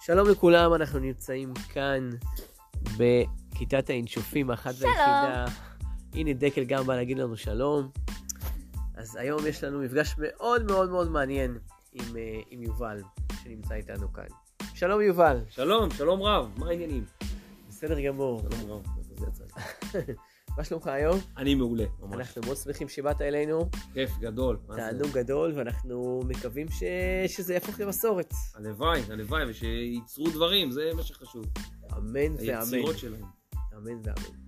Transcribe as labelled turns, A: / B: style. A: שלום לכולם, אנחנו נמצאים כאן בכיתת האינשופים, האחת
B: שלום.
A: והיחידה. הנה דקל גם בא להגיד לנו שלום. אז היום יש לנו מפגש מאוד מאוד מאוד מעניין עם, אה, עם יובל, שנמצא איתנו כאן. שלום יובל,
C: שלום, שלום רב, מה העניינים?
A: בסדר גמור.
C: שלום רב, זה יצא.
A: מה שלומך היום?
C: אני מעולה, ממש.
A: אנחנו מאוד שמחים שבאת אלינו,
C: כיף גדול. מה זה?
A: תענוג גדול, ואנחנו מקווים ש... שזה יהפוך למסורת.
C: הלוואי, הלוואי, ושייצרו דברים, זה מה שחשוב.
A: אמן ואמן.
C: היצירות שלהם.
A: אמן ואמן.